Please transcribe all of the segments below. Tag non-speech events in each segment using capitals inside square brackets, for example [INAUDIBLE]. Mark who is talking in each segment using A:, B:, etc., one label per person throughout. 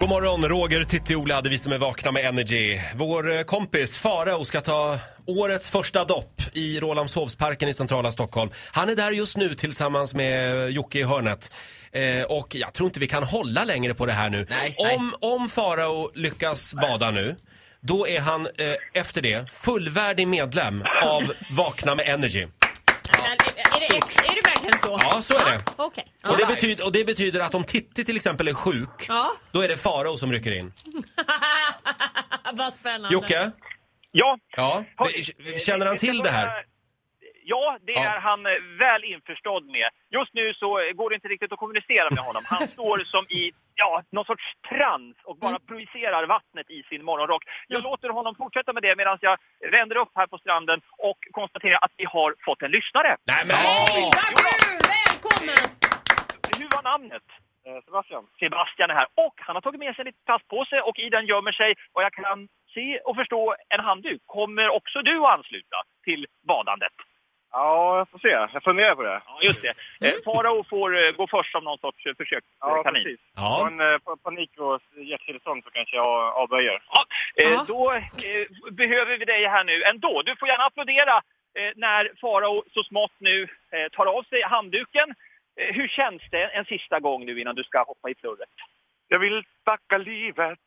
A: God morgon, Roger, Titti, Ola, det är vi som är vakna med Energy. Vår eh, kompis Farao ska ta årets första dopp i Rålambshovsparken i centrala Stockholm. Han är där just nu tillsammans med eh, Jocke i hörnet. Eh, och jag tror inte vi kan hålla längre på det här nu.
B: Nej,
A: om om Farao lyckas bada nu, då är han eh, efter det fullvärdig medlem av Vakna med Energy.
C: Men är, är, det ex, är det verkligen så?
A: Ja, så är det.
C: Okej.
A: Och det, betyder, och det betyder att om Titti till exempel är sjuk,
C: Ja.
A: då är det Farao som rycker in.
C: Vad spännande.
A: Jocke?
D: Ja.
A: Ja,
D: Har-
A: vi- känner han till det här?
D: Ja, det
A: Ja.
D: är han eh, väl införstådd med. Just nu så eh, går det inte riktigt att kommunicera med honom.
A: [LAUGHS]
D: Han står som i ja, någon sorts trans och bara
A: Mm.
D: projicerar vattnet i sin morgonrock. Jag låter honom fortsätta med det medan jag vänder upp här på stranden och konstaterar att vi har fått en lyssnare.
A: Nej men!
C: Hej, vad kul! Välkommen!
D: Nu var namnet. Eh, Sebastian. Sebastian är här och han har tagit med sig en liten plastpåse och i den gömmer sig och jag kan se och förstå en handduk. Kommer också du att ansluta till badandet?
E: Ja, jag får se. Jag funderar på det. Mm.
D: Ja, just det. Eh, Farao får eh, gå först som någon sorts eh, försökskanin.
E: Ja, precis. Har
A: Ja,
E: en eh, pa- panik och hjärtstillestånd så kanske jag avböjer.
D: Ja, eh,
C: Ja.
D: då eh, behöver vi dig här nu ändå. Du får gärna applådera eh, när Farao så smått nu eh, tar av sig handduken. Eh, hur känns det en sista gång nu innan du ska hoppa i plurret?
E: Jag vill tacka livet.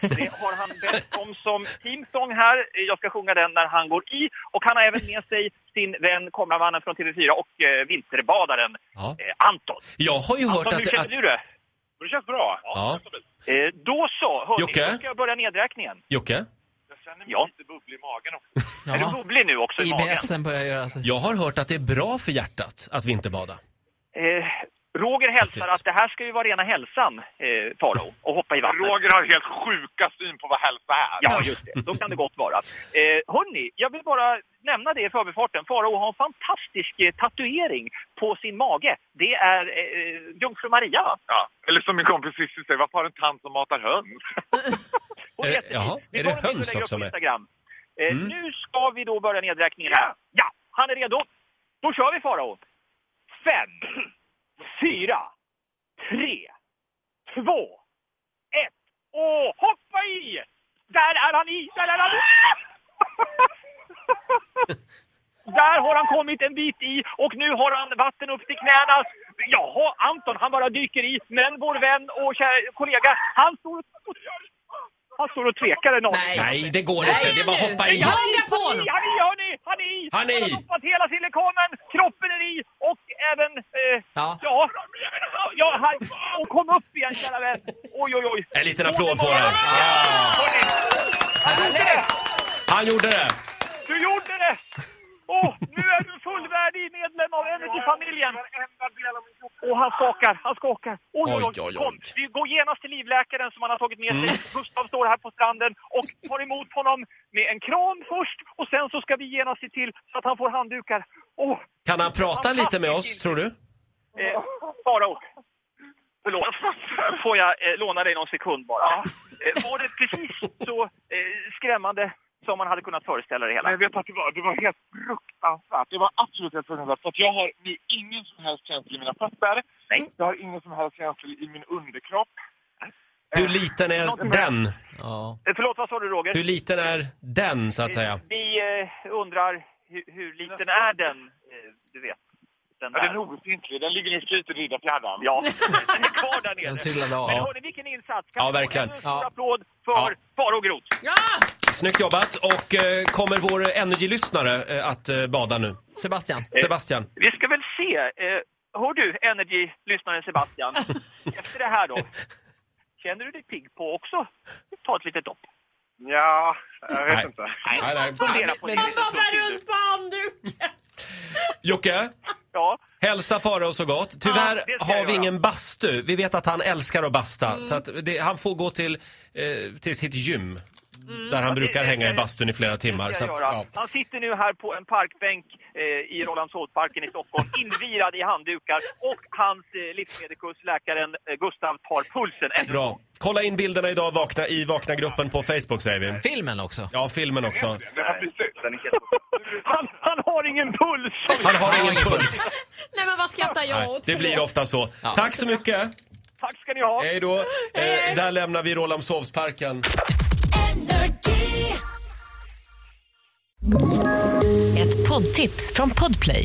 D: Det har han bett om som teamsång här. Eh, Jag ska sjunga den när han går i. Och han har även med sig sin vän kameramannen från TV4 och eh, vinterbadaren
A: ja.
D: eh, Anton.
A: Jag har ju hört
D: Anton, hur
A: att...
D: känner
A: att
D: du det?
E: Det känns bra.
A: ja.
D: Eh, då så, hörni,
A: Jocke?
D: då ska jag börja nedräkningen.
A: Jocke,
E: Jag känner mig
D: Ja.
E: lite bubblig i magen också.
D: Är du
B: Ja.
D: bubblig nu också i magen?
B: IBSen börjar göra sig.
A: jag har hört att det är bra för hjärtat att vinterbada.
D: Eh, Roger hälsar
A: Faktiskt.
D: att det här ska ju vara rena hälsan, eh, Faro, och hoppa i vattnet.
E: Roger har helt sjuka syn på vad hälsa är.
D: Ja, just det. Då kan det gott vara. Eh, hörni, jag vill bara nämna det i förbifarten. Farao har en fantastisk eh, tatuering på sin mage. Det är eh, Jungfru Maria, va?
E: Ja. Eller som min kompis Cissi säger, varför har en tant som matar höns?
D: [LAUGHS] Hon
A: Eh,
D: heter
A: jaha,
D: Vi
A: är
D: tar
A: det
D: en bild och
A: höns
D: lägger upp
A: också
D: på
A: med?
D: Instagram. Eh,
A: Mm.
D: Nu ska vi då börja nedräkningen här. Ja, han är redo. Då kör vi Farao. Fem, [CLEARS THROAT] fyra, tre, två, ett och hoppa i! Där är han i! Där är
A: [LAUGHS]
D: han i! Där har han kommit en bit i och nu har han vatten upp till knäna. Jaha, Anton, han bara dyker i. Men vår vän och kära kollega, han står och, han står och tvekar en aning.
B: Nej.
A: Nej, det går inte. Det är bara att hoppa i.
C: Jag hångar på honom.
D: Han är i, hörni! Han är i!
A: Han är i.
D: har doppat hela silikonen, kroppen är i och även... Eh,
B: Ja.
D: Ja, ja han, och kom upp igen kära vän! Oj, oj, oj!
A: En liten applåd får han.
D: Hörni,
B: Härligt!
A: Han gjorde det!
D: du gjorde det! Åh, nu är du fullvärdig medlem av Energy-familjen! Och han skakar, han skakar. Oj, oj,
A: Oj, oj,
D: oj. Kom,
A: oj.
D: vi går genast till livläkaren som han har tagit med sig.
A: Mm.
D: Gustav står här på stranden och tar emot honom med en kram först och sen så ska vi genast se till så att han får handdukar. Åh,
A: Kan han prata lite med oss, tror du?
D: eh, Farao. Förlåt,
E: [LAUGHS]
D: får jag eh, låna dig någon sekund bara? Eh, var det precis så eh, skrämmande som man hade kunnat föreställa det hela?
E: Men vet du vad det var? Det var helt fruktansvärt. Det var absolut helt fruktansvärt. För att jag har nu ingen som helst känsla i mina fötter.
D: Nej.
E: Jag har ingen som helst känsla i min underkropp.
A: Hur liten är den?
B: Ja.
D: Eh, förlåt, vad sa du Roger?
A: Hur liten är den, så att säga?
D: Vi eh, undrar hur, hur liten är den, eh, du vet? Den
E: Ja,
D: där.
E: den är obefintlig. Den ligger nu och flyter i Riddarfjärden.
D: Ja, den är kvar där nere.
B: Den trillade
D: Men
B: av.
D: hörni, vilken insats! Kan
A: Ja,
D: vi få
A: verkligen.
D: ännu En
B: Ja.
D: stor applåd för
A: Ja.
D: Farao Groth.
C: Ja!
A: Snyggt jobbat! Och eh, kommer vår Energy-lyssnare eh, att eh, bada nu?
B: Sebastian.
A: Sebastian?
D: Vi ska väl se. Eh, hör du, Energy-lyssnaren Sebastian, efter det här då. Känner du dig pigg på också? Ta ett litet dopp.
E: Ja, jag vet
A: Nej.
E: inte.
A: Nej, nej.
D: Fundera på det.
C: Han hoppar runt på handduken.
A: Jocke?
D: Ja,
A: Hälsa Farao så gott. Tyvärr
D: Ja, det ska
A: har
D: jag
A: vi
D: göra. Mm.
A: ingen bastu. Vi vet att han älskar att basta. Så att det, han får gå till, eh, till sitt gym. Där han brukar
D: det-
A: hänga i
D: det-
A: bastun i flera timmar.
D: det
A: Så
D: ska
A: att,
D: jag
A: ja.
D: göra. Han sitter nu här på en parkbänk eh, i Rålambshovsparken i Stockholm, invirad i handdukar och hans eh, livsmedelskuss, läkaren eh, Gustav, tar pulsen ännu.
A: Bra. Kolla in bilderna idag vakna, i Vakna-gruppen på Facebook säger vi.
B: Filmen också.
A: Ja, filmen också.
E: Ja, precis. Den är helt
D: Han, han har ingen puls!
A: Han har ingen puls.
C: Nej men vad skrattar jag
A: Nej,
C: åt?
A: det blir ofta så.
B: Ja.
A: Tack så mycket.
D: Tack ska ni ha.
A: Hej då! Eh, där lämnar vi Rålambshovsparken.
F: Ett poddtips från Podplay.